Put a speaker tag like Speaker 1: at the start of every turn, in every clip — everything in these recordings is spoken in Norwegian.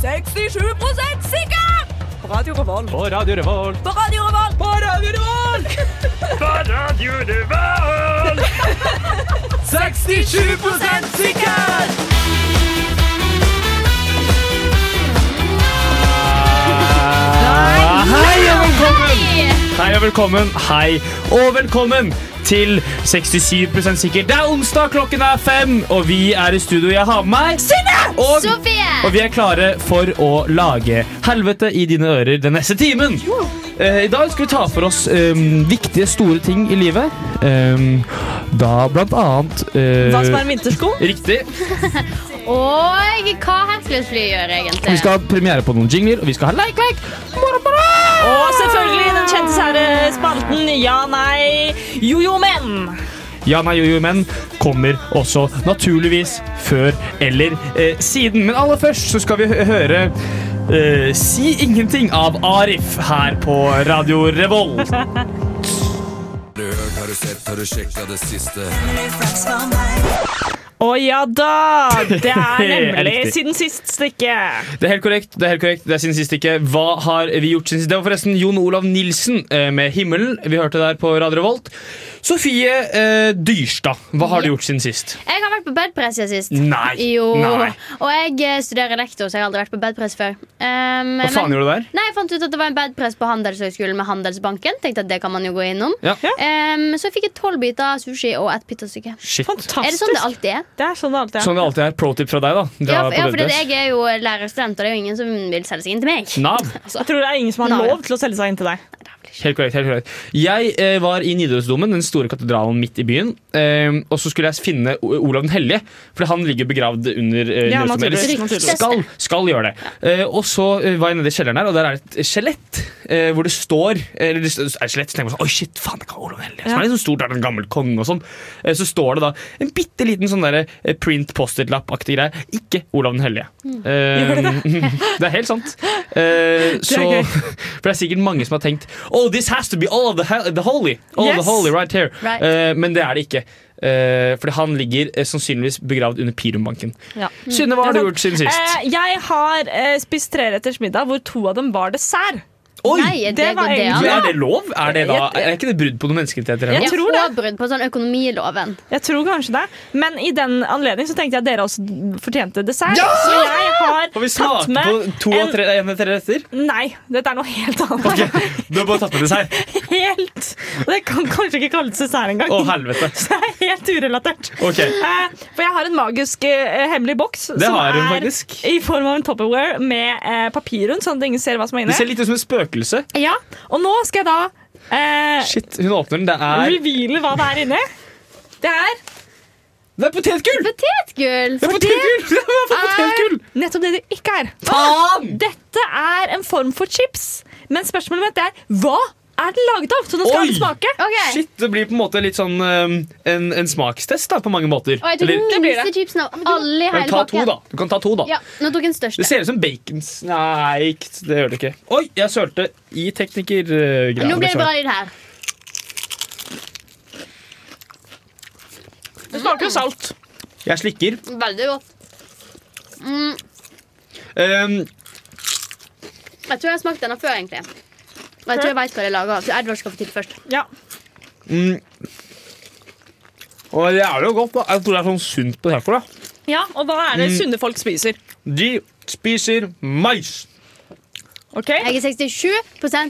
Speaker 1: 67 sikker! På Radio Revolt.
Speaker 2: På Radio Revolt.
Speaker 1: På Radio Revolt. På Radio Revolt!
Speaker 2: 67 sikker! Hei og velkommen! Hei og velkommen. Hei og velkommen til 67 sikker. Det er onsdag, klokken er fem, og vi er i studio. Jeg har med meg Og,
Speaker 3: Sofie!
Speaker 2: og vi er klare for å lage helvete i dine ører den neste timen. Eh, I dag skal vi ta for oss eh, viktige, store ting i livet. Eh, da blant annet eh,
Speaker 1: Hva som er en vintersko?
Speaker 2: Riktig.
Speaker 3: Og hva Herculesfly gjør egentlig?
Speaker 2: Vi skal ha premiere på noen jingler, og vi skal ha like, like. Bra, bra.
Speaker 1: Og selvfølgelig den kjente sære spalten Ja, nei, jojo, men.
Speaker 2: Ja, nei, jo, jo, men kommer også naturligvis før eller eh, siden. Men aller først så skal vi hø- høre eh, Si ingenting av Arif her på Radio Revolt.
Speaker 4: Har du hørt, har du sett, har du sjekka det siste?
Speaker 1: Å ja da! Det er nemlig
Speaker 2: Riktig.
Speaker 1: siden sist stykke.
Speaker 2: Det er helt korrekt. det er helt korrekt Det er siden sist ikke. Hva har vi gjort siden sist? Det var forresten Jon Olav Nilsen eh, med 'Himmelen'. Vi hørte der på Radio Revolt. Sofie eh, Dyrstad, hva har du gjort siden sist?
Speaker 3: Jeg har vært på bedpress siden sist.
Speaker 2: Nei.
Speaker 3: Jo.
Speaker 2: Nei.
Speaker 3: Og jeg eh, studerer lektor, så jeg har aldri vært på bedpress før. Um,
Speaker 2: Hva faen
Speaker 3: men-
Speaker 2: gjorde du der?
Speaker 3: Nei, Jeg fant ut at det var en bedpress på Handelshøyskolen med Handelsbanken. Tenkte at det kan man jo gå innom
Speaker 2: Ja.
Speaker 3: um, Så fikk jeg tolv biter sushi og ett pitastykke.
Speaker 2: Shit.
Speaker 1: Fantastisk.
Speaker 3: Er det sånn det alltid er?
Speaker 1: Det er sånn det alltid er.
Speaker 2: Sånn det alltid er. Pro tip fra deg, da. Dra
Speaker 3: Ja, for,
Speaker 2: på
Speaker 3: ja, fordi
Speaker 2: bedpress.
Speaker 3: jeg er jo lærerstudent, og det er jo ingen som vil selge seg inn til meg.
Speaker 2: Nav.
Speaker 1: Jeg tror det er ingen som har
Speaker 3: Nei.
Speaker 1: lov til å selge seg inn til deg.
Speaker 2: Helt korrekt. helt korrekt Jeg eh, var i Nidarosdomen, den store katedralen midt i byen. Eh, og så skulle jeg finne O- Olav den hellige, for han ligger begravd under eh,
Speaker 1: Ja,
Speaker 2: Nidarosdomen.
Speaker 1: naturligvis. naturligvis.
Speaker 2: Skal, skal gjøre det. Eh, og så eh, var jeg nede i kjelleren her, og der er det et skjelett eh, hvor det står Eller det er et skjelett, så tenker man sånn Oi, shit, faen, det kan Olav den hellige. Som er litt sånn stort, er en gammel konge og sånn. Eh, så står det da en bitte liten sånn derre eh, print post-it-lapp-aktig greie. Ikke Olav den hellige.
Speaker 1: Hmm.
Speaker 2: Eh, det er helt sant. Eh, så,
Speaker 1: gøy.
Speaker 2: for det er sikkert mange som har tenkt Oh, this has to be all of the, hel- the holy. All of
Speaker 1: Yes.
Speaker 2: the holy right here.
Speaker 3: Right.
Speaker 2: Eh, men det er det ikke. Eh, fordi han ligger eh, sannsynligvis begravd under Pirumbanken.
Speaker 1: Ja.
Speaker 2: Synne, hva har
Speaker 1: Hmm.
Speaker 2: du
Speaker 1: Det er
Speaker 2: gjort siden sist?
Speaker 1: Eh, jeg har eh, spist treretters middag, hvor to av dem var dessert.
Speaker 2: Oi!
Speaker 3: Nei, det,
Speaker 1: det var
Speaker 3: går det
Speaker 1: egentlig-
Speaker 3: an.
Speaker 1: Ja.
Speaker 2: Er det lov? Er, det da, er ikke det brudd på noen menneskerettigheter? eller
Speaker 1: Jeg
Speaker 3: Ja,
Speaker 2: noe?
Speaker 1: tror det.
Speaker 3: og brudd på sånn økonomiloven.
Speaker 1: Jeg tror kanskje det. Men i den anledning så tenkte jeg at dere også fortjente dessert. Så jeg har
Speaker 2: Har vi
Speaker 1: tatt
Speaker 2: smakt
Speaker 1: med
Speaker 2: på to av tre, en av tre retter?
Speaker 1: Nei, dette er noe helt annet.
Speaker 2: Du har bare tatt med dessert?
Speaker 1: Helt Og det kan kanskje ikke kalles dessert engang.
Speaker 2: Å, helvete.
Speaker 1: Det er helt urelatert.
Speaker 2: Ok.
Speaker 1: Eh, for jeg har en magisk eh, hemmelig boks.
Speaker 2: Det
Speaker 1: som
Speaker 2: har hun
Speaker 1: er
Speaker 2: faktisk.
Speaker 1: I form av en Tupperware med eh, papir rundt, sånn at ingen ser hva som er
Speaker 2: Det
Speaker 1: inni.
Speaker 2: ser litt ut som et spøkelse.
Speaker 1: Ja, og nå skal jeg da eh,
Speaker 2: Shit, hun åpner den. Det er,
Speaker 1: reveale hva det er inni. Det er
Speaker 2: det er potetgull!
Speaker 3: Potetgull!
Speaker 2: Det er potetgull! Det er potetgull!
Speaker 1: nettopp det det ikke er.
Speaker 2: Faen!
Speaker 1: Dette er en form for chips, men spørsmålet mitt er hva er den laget av? Så nå skal
Speaker 2: Oi!
Speaker 1: den smake.
Speaker 3: Ok.
Speaker 2: Shit, det blir på en måte litt sånn um, en, en smakstest da, på mange måter.
Speaker 3: Og jeg tok
Speaker 2: Eller-
Speaker 3: den
Speaker 1: det blir
Speaker 3: minste chipsen av alle i
Speaker 2: men
Speaker 3: hele
Speaker 2: ta to,
Speaker 3: pakken.
Speaker 2: da. Du kan ta to, da.
Speaker 3: Ja, nå tok jeg den
Speaker 2: Det
Speaker 3: største.
Speaker 2: ser ut som bacons Nei, ikke- det gjør det ikke. Oi, jeg sølte i teknikergreiene.
Speaker 3: Nå blir det bra lyd her.
Speaker 1: Det smaker jo salt.
Speaker 2: Jeg slikker.
Speaker 3: Veldig godt. Mm,
Speaker 2: Um,
Speaker 3: jeg tror jeg har smakt denne før, egentlig. Og jeg tror jeg veit hva det er laget av. Så Edvard skal få til først.
Speaker 1: Ja.
Speaker 2: mm. Og det er jo godt, da. Jeg tror det er sånn sunt på taco. da.
Speaker 1: ja, og hva er det
Speaker 2: Mm.
Speaker 1: sunne folk spiser?
Speaker 2: De spiser mais.
Speaker 1: Ok?
Speaker 3: Jeg er 67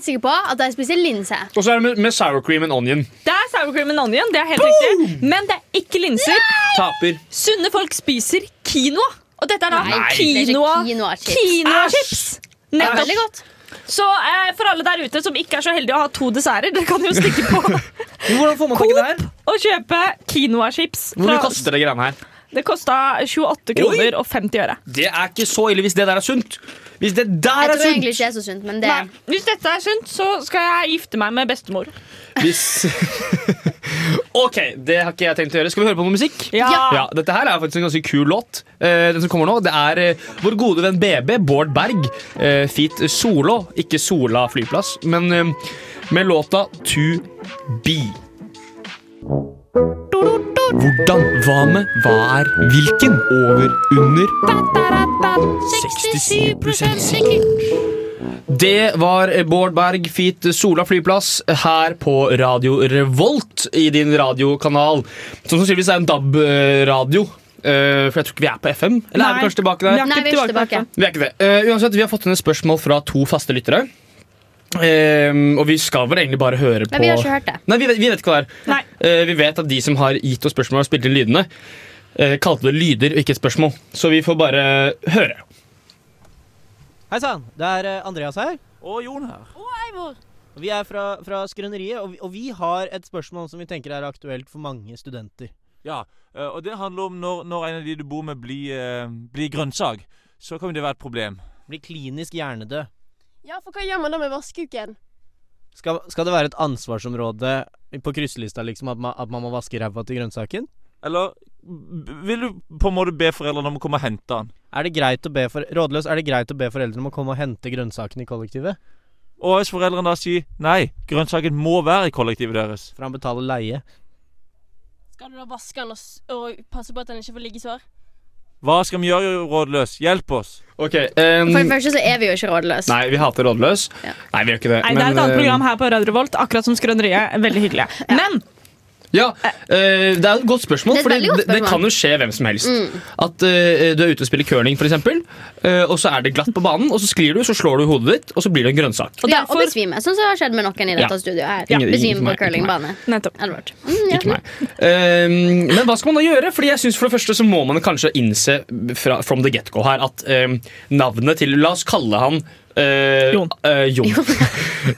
Speaker 3: sikker på at jeg spiser linse.
Speaker 2: Og så er det med, med sour cream and onion.
Speaker 1: Det er sour cream and onion, det er helt riktig. Men det er ikke linser.
Speaker 2: Taper.
Speaker 1: Sunne folk spiser quinoa. Og dette er da
Speaker 3: Nei, det er ikke
Speaker 1: quinoa
Speaker 3: quinoa-chips.
Speaker 1: quinoa-chips.
Speaker 3: Det er veldig
Speaker 1: Nettopp.
Speaker 3: godt.
Speaker 1: Så eh, for alle der ute som ikke er så heldige å ha to desserter, dere kan jo stikke på
Speaker 2: Hvordan får man tak i det her?
Speaker 1: Coop og kjøpe quinoa-chips.
Speaker 2: Hvor mye
Speaker 1: fra-
Speaker 2: koster det greiene her?
Speaker 1: Det kosta 28 kroner og 50 øre.
Speaker 2: Det er ikke så ille hvis det der er sunt. Hvis det der
Speaker 3: Jeg
Speaker 2: er
Speaker 3: tror
Speaker 2: sunt!
Speaker 3: egentlig ikke det er så sunt, men det
Speaker 1: Nei, hvis dette er sunt, så skal jeg gifte meg med bestemor.
Speaker 2: Hvis OK, det har ikke jeg tenkt å gjøre. Skal vi høre på noe musikk? Ja, Dette her er faktisk en ganske kul låt. Eh, den som kommer nå, det er eh, vår gode venn BB, Bård Berg, uh, feat Solå. Ikke Sola flyplass, men eh, med låta To Be.
Speaker 1: Du,
Speaker 2: Hvordan? Hva med? Hva er? Hvilken? Over? Under? 67% sikker. Det var Bård Berg feat Sola flyplass her på Radio Revolt i din radiokanal. Som sannsynligvis er en DAB-radio, eh, for jeg tror ikke vi er på FM. Eller er
Speaker 1: Nei.
Speaker 2: vi kanskje tilbake der?
Speaker 1: Ja.
Speaker 3: Nei, vi er ikke tilbake.
Speaker 2: Vi er ikke det. Eh, uansett, vi har fått inn et spørsmål fra to faste lyttere. Eh, og vi skal vel egentlig bare høre på
Speaker 3: Men vi har ikke hørt det.
Speaker 2: Nei, vi vet, vi vet ikke hva det er.
Speaker 1: Nei.
Speaker 2: Eh, vi vet at de som har gitt oss spørsmål og spilt inn lydene, eh, kalte det lyder og ikke et spørsmål. Så vi får bare høre.
Speaker 5: Hei sann, det er eh, Andreas her.
Speaker 6: Og Jon her.
Speaker 5: Vi er fra, fra Skrøneriet, og vi, og vi har et spørsmål som vi tenker er aktuelt for mange studenter.
Speaker 6: Ja, eh, og det handler om når, når en av de du bor med blir, eh, blir grønnsag, så kan jo det være et problem.
Speaker 5: Blir klinisk hjernedød.
Speaker 7: Ja, for hva gjør man da med vaskeuken?
Speaker 5: Skal, skal det være et ansvarsområde på krysselista liksom, at, man, at man må vaske ræva til grønnsaken?
Speaker 6: Eller b- vil du på en måte be foreldrene om å komme og hente han?
Speaker 5: Er det greit å be for, rådløs, er det greit å be foreldrene om å komme og hente grønnsakene i kollektivet?
Speaker 6: Og hvis foreldrene da sier nei, grønnsaken må være i kollektivet deres.
Speaker 5: For han betaler leie.
Speaker 7: Skal du da vaske den og, s- og passe på at den ikke får ligge sår?
Speaker 6: Hva skal vi gjøre, rådløs? Hjelp oss!
Speaker 2: Ok, eh,
Speaker 3: For det første så er vi jo ikke rådløse.
Speaker 2: Nei, vi hater Rådløs.
Speaker 3: Ja.
Speaker 2: Nei, vi gjør ikke det.
Speaker 1: Nei, det er et annet
Speaker 2: eh,
Speaker 1: program her på Radio Revolt, akkurat som Skrøneriet. Veldig hyggelig. Men
Speaker 2: Ja, eh, det er et godt spørsmål,
Speaker 3: Det er et
Speaker 2: for
Speaker 3: veldig godt
Speaker 2: det, det
Speaker 3: spørsmål. Mm.
Speaker 2: kan jo skje hvem som helst. At eh, du er ute og spiller curling, for eksempel, eh, og så er det glatt på banen, og så sklir du, så slår du hodet ditt, og så blir det en grønnsak.
Speaker 1: og
Speaker 3: ja, og
Speaker 1: derfor-
Speaker 3: besvime. Sånn som det har skjedd med noen i dette
Speaker 2: Ja.
Speaker 3: studioet her.
Speaker 2: Ingen- ingen
Speaker 3: besvime
Speaker 2: for
Speaker 3: på
Speaker 2: meg, ikke
Speaker 3: curlingbane.
Speaker 1: Nettopp.
Speaker 3: Edvard. Mm, ja.
Speaker 2: Ikke meg. Eh, men hva skal man da gjøre? Fordi jeg synes For det første så må man kanskje innse fra, from the get-go her at eh, navnet til La oss kalle han eh,
Speaker 1: Jon.
Speaker 2: eh, Jon.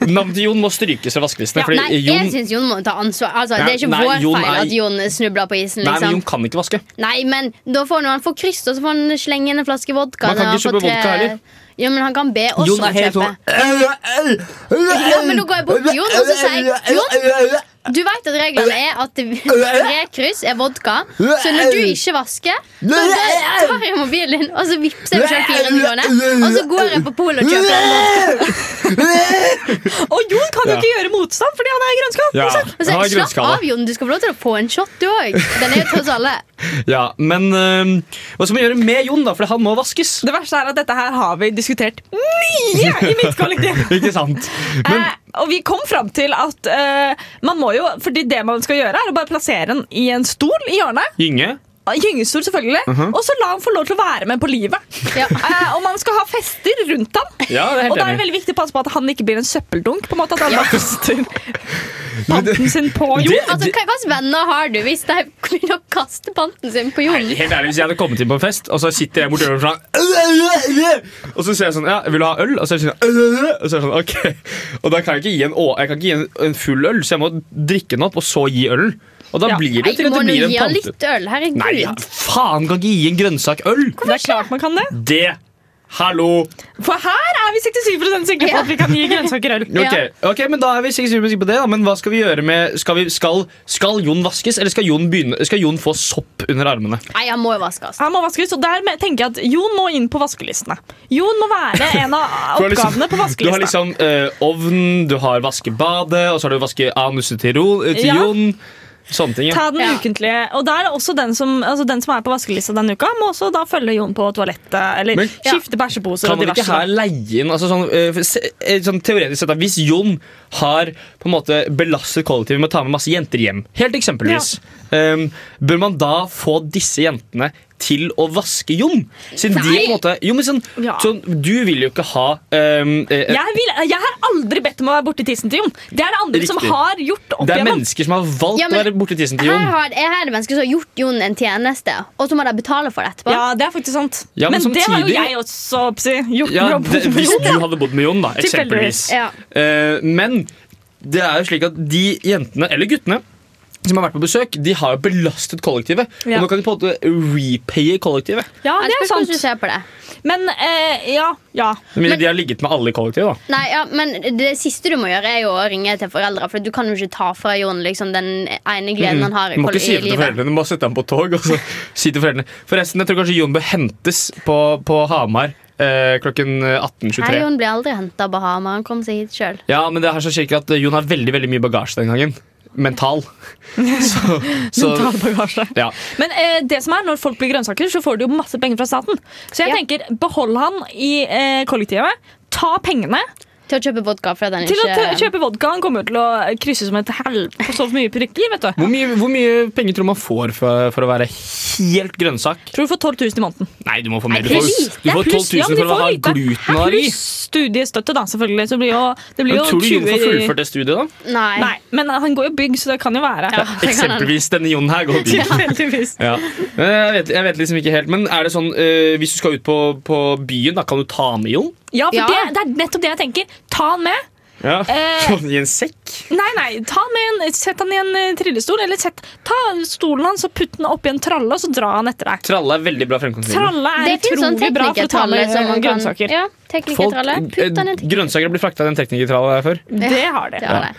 Speaker 2: navnet til Jon må strykes fra vaskelistene. fordi
Speaker 3: Nei, jeg
Speaker 2: Jon,
Speaker 3: syns Jon må ta ansvar. Altså,
Speaker 2: Ja,
Speaker 3: det er ikke
Speaker 2: nei,
Speaker 3: vår
Speaker 2: Jon
Speaker 3: feil
Speaker 2: er-
Speaker 3: at Jon snubler på isen,
Speaker 2: nei, men
Speaker 3: liksom.
Speaker 2: Jon kan ikke vaske.
Speaker 3: Nei, men da får han, han får kryss, og så får han slenge inn en flaske vodka.
Speaker 2: Man kan
Speaker 3: når han
Speaker 2: ikke
Speaker 3: får
Speaker 2: kjøpe
Speaker 3: tre-
Speaker 2: vodka heller.
Speaker 3: Ja, men han kan be oss om å kjøpe.
Speaker 2: sånn-
Speaker 3: Ja, men nå går jeg bort til Jon, og så sier jeg Jon, du vet at reglene er at tre kryss er vodka, så når du ikke vasker, så tar jeg mobilen din, og så vippser jeg selv 400 kroner, og så går jeg på polet og kjøper en vodka.
Speaker 1: Og Jon kan jo
Speaker 2: Ja.
Speaker 1: ikke gjøre motstand fordi han er grønnskall.
Speaker 2: Ja,
Speaker 1: ikke sant?
Speaker 3: Og så,
Speaker 2: han har
Speaker 3: slapp
Speaker 2: grønnskalle.
Speaker 3: av, Jon. Du skal få lov til å få en shot, du òg. Den er jo til oss alle.
Speaker 2: Ja, men eh, hva skal man gjøre med Jon, da? For han må vaskes.
Speaker 1: Det verste er at dette her har vi diskutert mye i mitt kollektiv.
Speaker 2: Ikke sant? Men,
Speaker 1: eh, og vi kom fram til at eh, man må jo Fordi det man skal gjøre, er å bare plassere den i en stol i hjørnet.
Speaker 2: Gynge?
Speaker 1: Gyngestol, selvfølgelig.
Speaker 2: Mhm.
Speaker 1: Og så la han få lov til å være med på livet.
Speaker 3: Ja.
Speaker 1: Eh, og man skal ha fester rundt han.
Speaker 2: Ja, det er helt
Speaker 1: og da er
Speaker 2: enig.
Speaker 1: det veldig viktig å passe på at han ikke blir en søppeldunk. På en måte At han bare kaster panten sin på
Speaker 2: Det-
Speaker 1: jord.
Speaker 3: Altså, Hva slags venner har du hvis de begynner å kaste panten sin på Jon?
Speaker 2: Helt ærlig, Hvis jeg hadde kommet inn på en fest, og så sitter jeg borti døren sånn Og så sier jeg sånn ja, 'Vil du ha øl?' Og så er jeg sånn, og så er jeg sånn OK. Og da kan jeg ikke gi en, å, jeg kan ikke gi en, en full øl, så jeg må drikke den opp og så gi ølen. Og da
Speaker 1: Ja.
Speaker 2: blir
Speaker 3: Nei,
Speaker 2: det til
Speaker 3: må
Speaker 2: at det
Speaker 3: nå
Speaker 2: blir en
Speaker 3: gi han
Speaker 2: pante.
Speaker 3: litt øl. Herregud.
Speaker 2: Nei, ja, faen, kan ikke gi en grønnsak øl!
Speaker 1: Det er klart man kan det.
Speaker 2: Det Hallo!
Speaker 1: For her er vi 67 sikre på at vi kan gi grønnsaker øl.
Speaker 2: Ok, ok, men da er vi sikkert sikre på det, da. men hva skal vi gjøre med Skal, vi, skal, skal Jon vaskes, eller skal Jon, begynne, skal Jon få sopp under armene?
Speaker 3: Nei, han må jo vaskes.
Speaker 1: Han må vaskes, og der med- tenker jeg at Jon må inn på vaskelistene. Jon må være en av
Speaker 2: Du har liksom-
Speaker 1: oppgavene
Speaker 2: Du
Speaker 1: på
Speaker 2: har
Speaker 1: vaskelista.
Speaker 2: liksom eh, ovn, du har vaskebadet, og så har du vaske anuset til, ro, eh, til
Speaker 1: Ja.
Speaker 2: Jon. Sånne ting, ja.
Speaker 1: Ta den
Speaker 3: Ja.
Speaker 1: ukentlige. Og da er det også den som, altså den som er på vaskelista denne uka, må også da følge Jon på toalettet. Eller
Speaker 2: Men-
Speaker 1: skifte bæsjeposer
Speaker 2: Kan
Speaker 1: og
Speaker 2: man ikke
Speaker 1: diverse.
Speaker 2: her leie inn altså sånn, eh, se, eh, sånn Teoretisk sett, da, hvis Jon har på en måte belastet kollektivet med å ta med masse jenter hjem, helt eksempelvis, eh, bør man da få disse jentene til å vaske Jon? Siden de på en måte Jo, men sånn,
Speaker 1: Ja.
Speaker 2: sånn Du vil jo ikke ha eh, eh,
Speaker 1: jeg, vil, jeg har aldri bedt om å være borti tissen til Jon. Det er det andre som
Speaker 2: Riktig.
Speaker 1: har gjort opp
Speaker 2: Det er
Speaker 1: igjennom.
Speaker 2: mennesker som har valgt
Speaker 3: Ja, men-
Speaker 2: å være borti tissen til
Speaker 3: Her
Speaker 2: Jon.
Speaker 3: har, her er det mennesker som har gjort Jon en tjeneste, og så må de betale for det etterpå.
Speaker 1: Ja, det er faktisk sant.
Speaker 2: Ja, men
Speaker 1: men det har jo
Speaker 2: samtidig-
Speaker 1: jeg også oppsi, gjort.
Speaker 2: Ja,
Speaker 1: når jeg
Speaker 2: det,
Speaker 1: bodde på
Speaker 2: hvis du
Speaker 1: Jon.
Speaker 2: hadde bodd med Jon, da, eksempelvis.
Speaker 1: Tilfeldigvis.
Speaker 3: Ja.
Speaker 2: Eh, men det er jo slik at de jentene, eller guttene, som har vært på besøk, de har jo belastet kollektivet.
Speaker 1: Ja.
Speaker 2: Og nå kan de på en måte repaye kollektivet.
Speaker 1: Ja,
Speaker 3: Jeg
Speaker 1: det er
Speaker 3: spørs hvordan du
Speaker 1: sant.
Speaker 3: ser på det.
Speaker 1: Men eh, ja, ja.
Speaker 2: Men, de har ligget med alle i kollektivet, da.
Speaker 3: Nei, ja, men det siste du må gjøre, er jo å ringe til foreldre. For du kan jo ikke ta fra Jon liksom, den ene gleden han har i,
Speaker 2: Du må ikke si
Speaker 3: i
Speaker 2: det til
Speaker 3: livet.
Speaker 2: foreldrene, du må sette ham på tog og så si til foreldrene. Forresten, jeg tror kanskje Jon bør hentes på, på Hamar eh, klokken
Speaker 3: Nei,
Speaker 2: 18.23.
Speaker 3: Jon blir aldri henta av Bahama. Han kom seg hit sjøl.
Speaker 2: eh, Ja, men det er så slik at Jon har veldig veldig mye bagasje den gangen. mental. Så, så
Speaker 1: Mentalbagasje.
Speaker 2: ja.
Speaker 1: Men eh, det som er, når folk blir grønnsaker, så får du jo masse penger fra staten. Så jeg
Speaker 3: Ja.
Speaker 1: tenker, behold han i eh, kollektivet. Ta pengene
Speaker 3: Til å kjøpe vodka fordi den
Speaker 1: til å t-
Speaker 3: ikke
Speaker 1: kjøpe vodka. Han kommer jo til å krysse som et helvete på så mye prikker. vet du
Speaker 2: Hvor mye, hvor mye penger tror du man får for, for å være helt grønnsak?
Speaker 1: Tror du får 12 000 i måneden.
Speaker 2: Nei, du må få mer.
Speaker 3: Nei,
Speaker 2: Du får,
Speaker 3: pluss-
Speaker 2: du får 12
Speaker 1: pluss-
Speaker 2: 000
Speaker 1: ja, men
Speaker 2: for
Speaker 1: de
Speaker 2: å ha
Speaker 1: får lite.
Speaker 2: glutenallergi.
Speaker 1: Pluss studiestøtte, da, selvfølgelig. Så blir jo, det
Speaker 2: Men
Speaker 1: blir jo
Speaker 2: Tror du Jon får
Speaker 1: 20
Speaker 2: fullført det studiet, da?
Speaker 3: Nei.
Speaker 1: Nei, men han går jo bygg, så det kan jo være.
Speaker 3: Ja, det kan hende.
Speaker 2: Eksempelvis denne Jon her. Går dit.
Speaker 1: Tilfeldigvis.
Speaker 2: Ja. Men Jeg, vet, jeg vet liksom ikke helt, men er det sånn eh, hvis du skal ut på, på byen, da kan du ta med Jon?
Speaker 1: Ja, for
Speaker 3: Ja.
Speaker 1: Det, det er nettopp det jeg tenker. Ta han med.
Speaker 2: Ja.
Speaker 1: Eh.
Speaker 2: I en sekk?
Speaker 1: Nei, nei, ta han med en, Sett han i en eh, trillestol, eller sett, ta stolen hans og putt den oppi en tralle, og så dra han etter deg.
Speaker 2: Tralle er veldig bra fremkomstmiddel.
Speaker 1: Tralle er
Speaker 3: Det finnes sånn
Speaker 1: utrolig bra for å ta med
Speaker 3: teknikertralle
Speaker 1: eh,
Speaker 3: som man kan
Speaker 1: grønnsaker.
Speaker 3: Ja, teknikertralle. Putt den i
Speaker 2: eh, grønnsaker blir frakta i en teknikertralle før.
Speaker 1: Det har de.
Speaker 3: Det var det.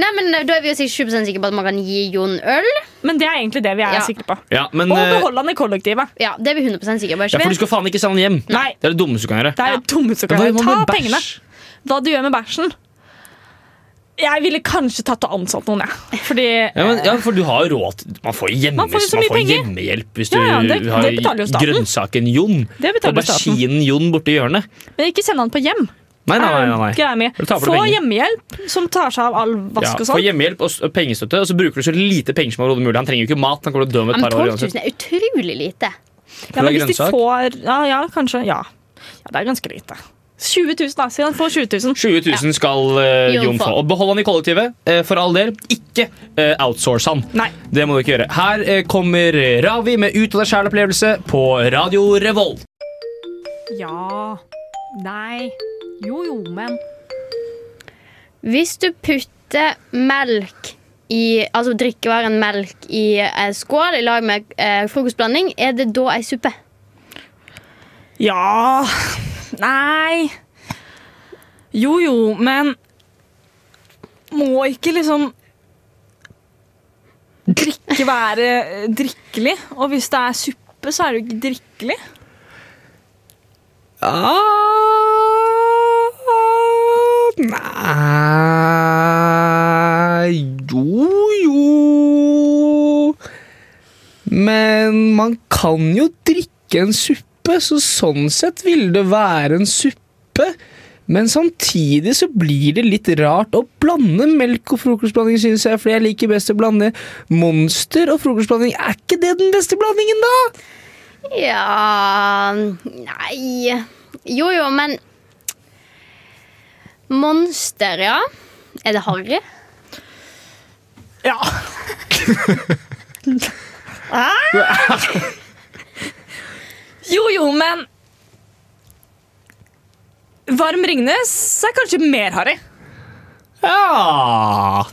Speaker 3: Nei, men Da er vi jo sikkert 20 sikre på at man kan gi Jon øl.
Speaker 1: Men det er egentlig det vi er
Speaker 3: Ja.
Speaker 1: sikre på.
Speaker 2: Ja, men,
Speaker 1: Og
Speaker 2: eh,
Speaker 1: beholde han i kollektivet.
Speaker 3: Ja, det er vi 100 sikre på.
Speaker 2: ja,
Speaker 3: ikke
Speaker 2: for du
Speaker 3: vi?
Speaker 2: skal faen ikke sende han hjem.
Speaker 1: Nei,
Speaker 2: Det er det dummeste du kan gjøre.
Speaker 1: det er det dummeste du kan
Speaker 2: Men
Speaker 1: gjøre.
Speaker 2: hva
Speaker 1: Ta
Speaker 2: med bæsj?
Speaker 1: pengene. Hva du gjør med bæsjen. Jeg ville kanskje tatt og ansatt noen, jeg. Fordi
Speaker 2: Ja, men, ja, for du har jo råd til- Man får jo hjemmes,
Speaker 1: Eh. Man får jo så
Speaker 2: man
Speaker 1: mye
Speaker 2: får
Speaker 1: penger.
Speaker 2: hjemmehjelp hvis du
Speaker 1: Ja, ja, det-
Speaker 2: har
Speaker 1: det betaler jo staten.
Speaker 2: grønnsaken Jon.
Speaker 1: det betaler staten.
Speaker 2: Auberginen Jon borti hjørnet.
Speaker 1: Men ikke send han på hjem.
Speaker 2: Nei, nei, nei. nei, nei.
Speaker 1: Greia mi.
Speaker 2: Da taper du
Speaker 1: Få
Speaker 2: penger.
Speaker 1: hjemmehjelp som tar seg av all
Speaker 2: Ja,
Speaker 1: vask og
Speaker 2: Få
Speaker 1: sånn.
Speaker 2: hjemmehjelp og s- og pengestøtte, og så bruker du så lite penger som overhodet mulig. Han trenger jo ikke mat. Han kommer til å dø om
Speaker 3: Ja,
Speaker 2: et
Speaker 3: men
Speaker 2: par
Speaker 3: 12
Speaker 2: år
Speaker 3: 000
Speaker 2: uansett.
Speaker 3: er utrolig lite.
Speaker 1: Ja, men
Speaker 2: det er
Speaker 1: hvis de
Speaker 2: grønnsak.
Speaker 1: får Ja, ja kanskje. Ja. ja. Det er ganske lite. 20 000, da. Si han får 20 000.
Speaker 2: 20 000 skal eh,
Speaker 3: Jon
Speaker 2: Jon få.
Speaker 3: få.
Speaker 2: Og behold han i kollektivet, eh, for all del. Ikke eh, outsource han.
Speaker 1: Nei.
Speaker 2: Det må du ikke gjøre. Her eh, kommer Ravi med Ut av deg sjæl-opplevelse på Radio Revolt.
Speaker 1: Ja. Nei. Jo, jo, men
Speaker 3: Hvis du putter melk i, altså drikkevaren melk i eh, skål i lag med eh, frokostblanding, er det da ei suppe?
Speaker 1: Ja. Nei. Jo, jo, men Må ikke liksom drikke være eh, drikkelig. Og hvis det er suppe, så er det jo ikke drikkelig.
Speaker 2: Ah, Nei Jo, jo Men man kan jo drikke en suppe, så sånn sett ville det være en suppe. Men samtidig så blir det litt rart å blande melk og frokostblanding, synes jeg, fordi jeg liker best å blande monster og frokostblanding. Er ikke det den beste blandingen, da?
Speaker 3: Ja Nei. Jo jo, men Monster, ja. Er det harry?
Speaker 1: Ja. Ah! jo, jo, men Varm Ringnes er kanskje mer harry.
Speaker 2: Ja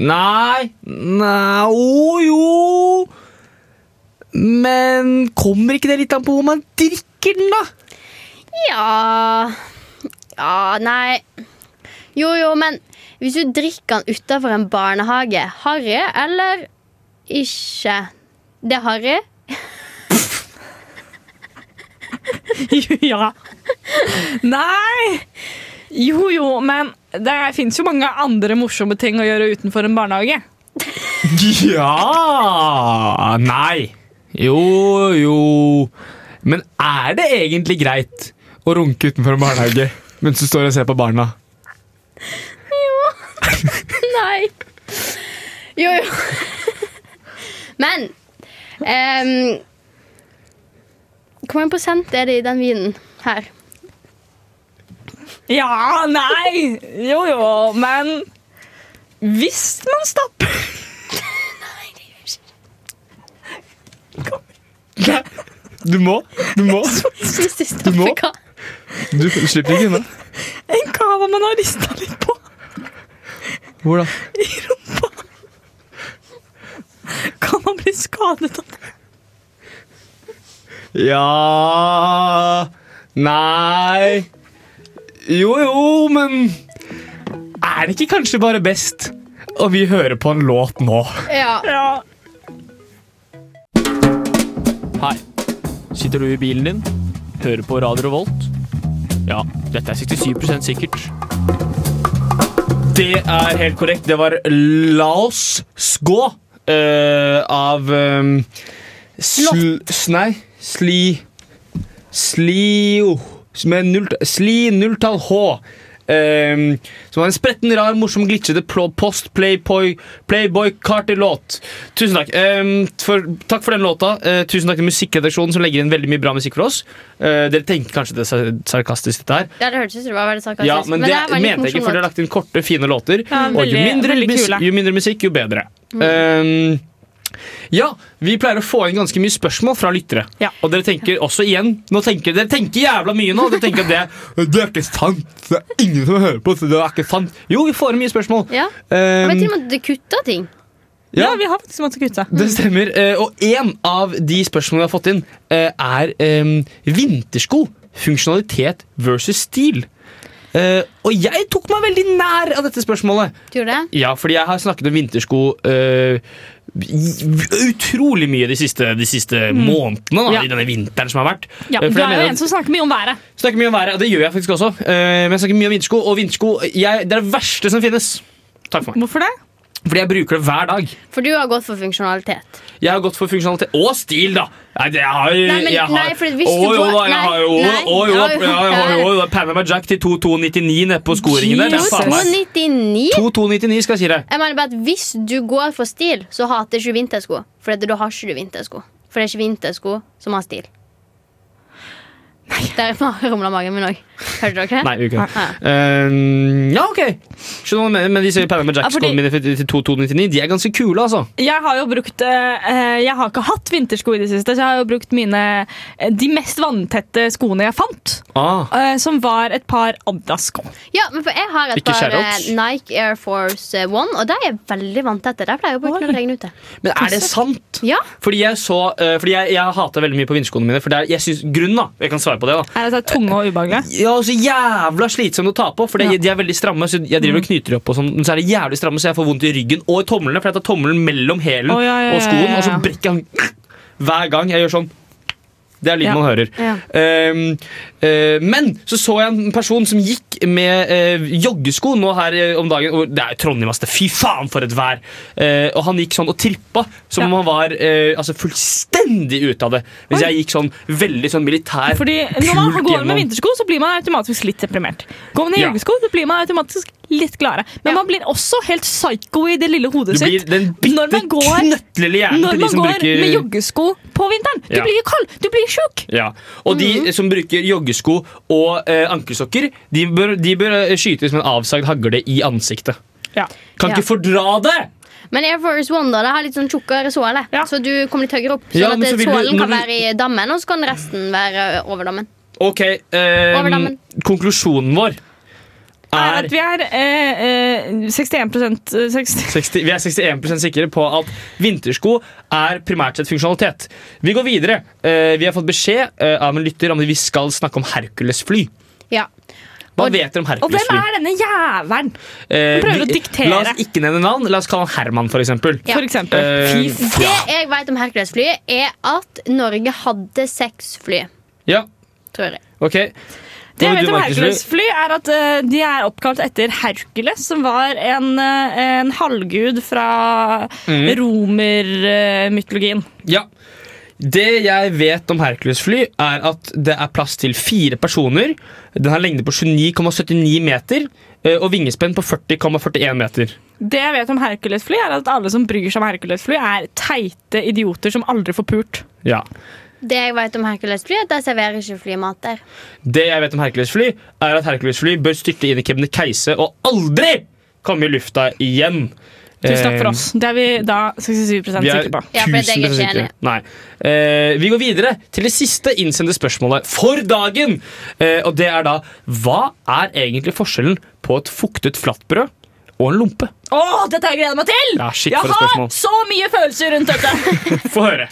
Speaker 2: Nei Nei Jo, jo. Men kommer ikke det litt an på hvor man drikker den, da?
Speaker 3: Ja Ja, nei Jo jo, men hvis du drikker den utafor en barnehage, harry eller ikke? Det er harry.
Speaker 1: ja. Nei. Jo, jo, men det fins jo mange andre morsomme ting å gjøre utenfor en barnehage.
Speaker 2: Ja Nei. Jo, jo. Men er det egentlig greit å runke utenfor en barnehage mens du står og ser på barna?
Speaker 3: Nei. Jo jo. Men ehm, Hvor mange prosent er det i den vinen her?
Speaker 1: Ja, nei. Jo, jo, men hvis man stapper
Speaker 2: Du må. Du må.
Speaker 3: Hvis de stopper
Speaker 2: må.
Speaker 3: hva?
Speaker 2: Du slipper ikke unna.
Speaker 1: en cava man har rista litt på
Speaker 2: Hvor da?
Speaker 1: i rumpa. Kan man bli skadet av det?
Speaker 2: Ja Nei Jo, jo, men Er det ikke kanskje bare best om vi hører på en låt nå?
Speaker 3: Ja.
Speaker 1: Ja.
Speaker 2: Hei. Sitter du i bilen din? Hører på Radio Revolt? Ja, dette er 67 sikkert. Det er helt korrekt. Det var La oss skå eh, av um, sl, s- Nei, sli Slio med null, Sli nulltall H. eh, som var en spretten, rar, morsom, glitchete pl- post playboy, playboy Carter-låt. Tusen takk. Eh, for, takk for den låta. Eh, tusen takk til musikkredaksjonen som legger inn veldig mye bra musikk for oss. Eh, dere tenker kanskje det er sar- sarkastisk, dette her.
Speaker 3: Ja, det hørtes ut som det var veldig sarkastisk.
Speaker 2: Ja, men, det,
Speaker 3: her var en litt
Speaker 2: mente jeg ikke,
Speaker 3: morsom
Speaker 2: for dere har
Speaker 3: låt.
Speaker 2: lagt inn korte, fine låter.
Speaker 1: Ja,
Speaker 2: og jo
Speaker 1: veldig-
Speaker 2: mindre,
Speaker 1: veldig
Speaker 2: mus
Speaker 1: kule. Mm.
Speaker 2: jo mindre musikk, jo bedre. Um, ja, vi pleier å få inn ganske mye spørsmål fra lyttere.
Speaker 1: Ja.
Speaker 2: Og dere tenker også igjen nå tenker, Dere tenker jævla mye nå. Dere tenker at det, det er ikke sant. Det er ingen som hører på, så det er ikke sant. Jo, vi får inn mye spørsmål.
Speaker 3: Ja.
Speaker 2: Um,
Speaker 3: Jeg vet til og med at det kutta ting.
Speaker 1: Ja,
Speaker 2: ja,
Speaker 1: vi har faktisk måttet kutte.
Speaker 2: det stemmer. Eh, Og én av de spørsmålene vi har fått inn, eh, er em, vintersko. Funksjonalitet versus stil. Eh, og jeg tok meg veldig nær av dette spørsmålet.
Speaker 3: Du gjorde det?
Speaker 2: Ja, fordi jeg har snakket om vintersko eh, utrolig mye de siste, de siste
Speaker 3: Mm.
Speaker 2: månedene. Da,
Speaker 1: Ja.
Speaker 2: I denne vinteren som har vært.
Speaker 1: Ja,
Speaker 2: Eh, for
Speaker 1: du
Speaker 2: jeg
Speaker 1: er
Speaker 2: mener
Speaker 1: jo
Speaker 2: at-
Speaker 1: en som snakker mye om været.
Speaker 2: Snakker mye om været, og det gjør jeg faktisk også. eh, men jeg snakker mye om vintersko, og vintersko jeg, det er det verste som finnes. Takk for meg.
Speaker 1: Hvorfor det?
Speaker 2: Fordi jeg bruker det hver dag.
Speaker 3: For du har gått for funksjonalitet.
Speaker 2: Jeg har gått for funksjonalitet og stil, da. Nei, det- jeg har
Speaker 3: Nei, men-
Speaker 2: jeg har-
Speaker 3: nei, for hvis
Speaker 2: Å,
Speaker 3: du
Speaker 2: jo
Speaker 3: går-
Speaker 2: da, jeg har jo
Speaker 3: nei,
Speaker 2: Å, jo da,
Speaker 3: nei,
Speaker 2: jeg har
Speaker 3: ja,
Speaker 2: jo da, Panama Jack til 2299 nede på skoringen der. Det er faen meg-
Speaker 3: 299?
Speaker 2: 2299 skal jeg si det.
Speaker 3: Jeg mener bare at Hvis du går for stil, så hater ikke du vintersko. For at da har ikke du vintersko. For det er ikke vintersko som har stil. Nei. Der rumla magen min òg. Hørte dere det?
Speaker 2: Nei, vi gjør ikke det. Eh, ja, OK. Skjønner hva du mener, men disse Panama
Speaker 1: Ja, fordi-
Speaker 2: Jack-skoene mine til 2299, de er ganske kule, altså.
Speaker 1: Jeg har jo brukt eh, eh, Jeg har ikke hatt vintersko i det siste, så jeg har jo brukt mine eh, De mest vanntette skoene jeg fant,
Speaker 2: Ah.
Speaker 1: eh, som var et par Adidas-sko.
Speaker 3: Ja, men for jeg har et
Speaker 2: Ikke
Speaker 3: par eh,
Speaker 2: shoutouts.
Speaker 3: Nike Air Force eh, One, og de er veldig vanntette. De pleier å bruke når det regner ute.
Speaker 2: Men er det sant?
Speaker 3: Ja.
Speaker 2: Fordi jeg så eh, Fordi jeg, jeg hater veldig mye på vinterskoene mine. For det er, jeg synes, grunnen, da. Jeg kan svare på det, da.
Speaker 1: Er det tunge og ubehagelige?
Speaker 2: Ja, og så jævla slitsomt å ta på, for det,
Speaker 1: Ja. Mm.
Speaker 2: de er veldig stramme. Så jeg driver og knyter opp, og sånn, men så er det jævlig stramme, så jeg får vondt i ryggen og i tomlene. For jeg tar tommelen mellom hælen
Speaker 1: Å, ja, ja,
Speaker 2: og skoen,
Speaker 1: ja, ja,
Speaker 2: og så
Speaker 1: ja.
Speaker 2: brekker han hver gang jeg gjør sånn. Det er lyden
Speaker 1: Ja.
Speaker 2: man hører.
Speaker 3: Ja.
Speaker 2: Ehm, eh, men så så jeg en person som gikk med eh, joggesko nå her eh, om dagen. Og det er jo Trondheim, ass. det- Fy faen, for et vær! Eh, og han gikk sånn og trippa som om han var eh, altså, fullstendig ute av det. Hvis jeg gikk sånn veldig sånn militær
Speaker 1: Fordi når man
Speaker 2: pult
Speaker 1: går med
Speaker 2: gjennom.
Speaker 1: vintersko, så blir man automatisk litt deprimert. Går man i
Speaker 2: Ja.
Speaker 1: joggesko, så blir man automatisk litt gladere. Men man blir også helt psycho i det lille
Speaker 2: Du
Speaker 1: hodet
Speaker 2: blir
Speaker 1: sitt.
Speaker 2: den
Speaker 1: Når
Speaker 2: bitte
Speaker 1: man går-
Speaker 2: knøttlille hjernen til
Speaker 1: Når
Speaker 2: de
Speaker 1: man
Speaker 2: som
Speaker 1: går
Speaker 2: bruker
Speaker 1: med joggesko på vinteren. Du
Speaker 2: Ja.
Speaker 1: blir kald, du blir sjuk.
Speaker 2: ja. Og
Speaker 1: Mm.
Speaker 2: de som bruker joggesko og eh, ankelsokker, de bør, de bør eh, skytes med en avsagd hagle i ansiktet.
Speaker 1: Ja.
Speaker 2: Kan
Speaker 3: Ja.
Speaker 2: ikke fordra det!
Speaker 3: Men Air Force One da, det har litt sånn tjukkere såle,
Speaker 1: Ja.
Speaker 3: så du kommer litt høyere opp. Sånn
Speaker 2: Ja,
Speaker 3: at
Speaker 2: men så vil du-
Speaker 3: sålen
Speaker 2: når
Speaker 3: kan
Speaker 2: du-
Speaker 3: være i dammen, og så kan resten være eh, over dammen.
Speaker 2: OK, eh,
Speaker 3: Over dammen.
Speaker 2: konklusjonen vår
Speaker 1: Er
Speaker 2: er
Speaker 1: at vi er eh, eh, 61 eh, 60
Speaker 2: 60, vi er 61 sikre på at vintersko er primært sett funksjonalitet. Vi går videre. Eh, vi har fått beskjed eh, av en lytter om at vi skal snakke om Hercules-fly.
Speaker 3: Ja.
Speaker 2: Hva
Speaker 3: Og-
Speaker 2: vet dere om
Speaker 1: Og hvem
Speaker 2: Hercules-fly?
Speaker 1: er denne jævelen?
Speaker 2: Eh,
Speaker 1: prøver
Speaker 2: vi-
Speaker 1: å diktere.
Speaker 2: La oss ikke nevne navn. La oss kalle han Herman, for eksempel.
Speaker 3: Ja.
Speaker 1: For eksempel.
Speaker 2: Eh,
Speaker 1: Fy
Speaker 3: Det
Speaker 1: faen.
Speaker 3: jeg vet om Hercules-flyet, er at Norge hadde seks fly,
Speaker 2: Ja,
Speaker 3: tror jeg.
Speaker 2: ok.
Speaker 1: Det jeg
Speaker 2: Hva vil
Speaker 1: vet
Speaker 2: du,
Speaker 1: om
Speaker 2: Markus,
Speaker 1: Hercules fly, er at eh, de er oppkalt etter Hercules, som var en, eh, en halvgud fra
Speaker 2: Mm.
Speaker 1: romermytologien.
Speaker 2: Ja. Det jeg vet om Hercules-fly, er at det er plass til fire personer. Den har lengde på 29,79 meter eh, og vingespenn på 40,41 meter.
Speaker 1: Det jeg vet om Hercules fly, er at alle som bryr seg om Hercules fly, er teite idioter som aldri får pult.
Speaker 2: Ja.
Speaker 3: Det jeg vet om Hercules-flyet, er at de serverer ikke flymat der.
Speaker 2: Det jeg vet om Hercules-fly, er at Hercules-fly bør styrte inn i Kebnekaise og aldri komme i lufta igjen.
Speaker 1: Tusen takk
Speaker 2: Eh,
Speaker 1: for oss. Det er vi da 67
Speaker 2: Vi er
Speaker 1: sikre på.
Speaker 3: Ja, for det er
Speaker 2: 1000%
Speaker 3: jeg ikke enig i.
Speaker 2: sikre. Nei. Eh, vi går videre til det siste innsendte spørsmålet for dagen. Eh, og det er da Hva er egentlig forskjellen på et fuktet flatbrød og en lompe?
Speaker 1: Å, dette har jeg gleda meg til!
Speaker 2: Ja, shit, for
Speaker 1: jeg
Speaker 2: et
Speaker 1: har
Speaker 2: spørsmål.
Speaker 1: så mye følelser rundt dette.
Speaker 2: Få høre.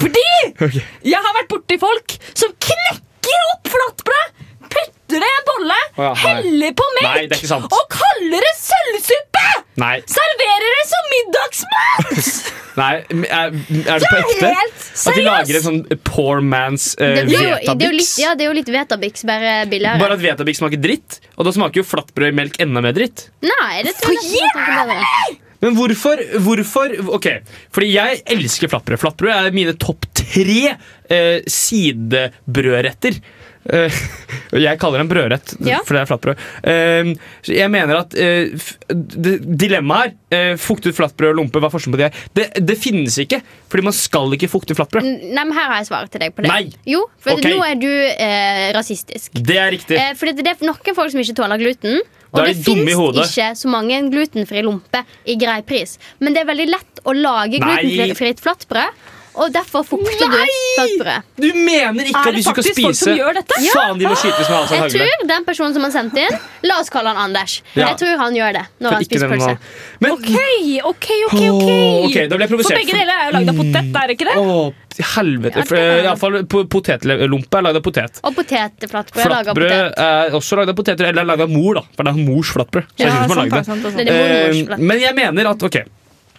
Speaker 1: Fordi jeg har vært borti folk som knekker opp flatbrød, putter det i en bolle,
Speaker 2: Å ja, nei.
Speaker 1: heller på melk
Speaker 2: Nei, det er ikke sant.
Speaker 1: og kaller det sølvsuppe!
Speaker 2: Nei.
Speaker 1: Serverer det som middagsmat!
Speaker 2: Nei, er, er det på ekte? At de lager en sånn poor man's eh,
Speaker 3: Det, blir jo, det, er jo litt,
Speaker 2: Vetabix?
Speaker 3: ja, det er jo litt Vetabix, bare billigere.
Speaker 2: Bare at Vetabix smaker dritt, og da smaker jo flatbrød i melk enda mer dritt.
Speaker 3: Nei, det tror jeg nesten ikke er bedre.
Speaker 2: Men hvorfor, hvorfor Ok, fordi jeg elsker flatbrød. Flatbrød er mine topp tre eh, sidebrødretter. Eh, og jeg kaller det en brødrett,
Speaker 3: Ja.
Speaker 2: for det er flatbrød. Eh, så jeg mener at eh, f- d- Dilemmaet her, eh, fuktet flatbrød og lompe, hva er forskjellen på de her? Det, det finnes ikke, fordi man skal ikke fukte flatbrød.
Speaker 3: N- Nei, men Her har jeg svaret til deg på det.
Speaker 2: Nei.
Speaker 3: Jo, for at
Speaker 2: Ok.
Speaker 3: nå er du eh, rasistisk.
Speaker 2: Det er riktig.
Speaker 3: Eh, for det er noen folk som ikke tåler gluten. Og
Speaker 2: Da er
Speaker 3: det
Speaker 2: de dumme i
Speaker 3: fins
Speaker 2: hodet.
Speaker 3: ikke så mange glutenfri lompe i grei pris. Men det er veldig lett å lage
Speaker 2: Nei.
Speaker 3: glutenfritt flatbrød, og derfor fukter du flatbrødet.
Speaker 2: Du mener ikke
Speaker 1: Er
Speaker 2: at
Speaker 1: det
Speaker 2: hvis du skal
Speaker 1: faktisk folk
Speaker 2: spise
Speaker 1: som gjør dette?
Speaker 2: Faen, de må skytes med Halvdan
Speaker 3: Jeg
Speaker 2: Hagle.
Speaker 3: tror den personen som har sendt inn La oss kalle han Anders.
Speaker 2: Ja.
Speaker 3: Jeg tror han gjør det når
Speaker 2: For
Speaker 3: han
Speaker 2: ikke
Speaker 3: spiser
Speaker 2: den
Speaker 3: pølse.
Speaker 2: har- Men
Speaker 1: OK, OK, OK. ok
Speaker 2: Åh, ok, da ble jeg provosert.
Speaker 1: For begge deler er jo lagd av potet, er det ikke det?
Speaker 2: Åh, helvete.
Speaker 1: Ja,
Speaker 2: For,
Speaker 1: det er-
Speaker 2: eh, i alle fall po- Potetlompe er lagd av potet.
Speaker 3: Og potetflatbrød laget av
Speaker 2: Flatbrød
Speaker 3: potet.
Speaker 2: er også lagd av poteter, eller er lagd av mor, da. For det er mors flatbrød. Så jeg synes man
Speaker 1: sant,
Speaker 2: lager det.
Speaker 1: sant, sant,
Speaker 3: Det
Speaker 1: sant.
Speaker 3: er det mormors
Speaker 2: Eh,
Speaker 3: flatbrød.
Speaker 2: men jeg mener at ok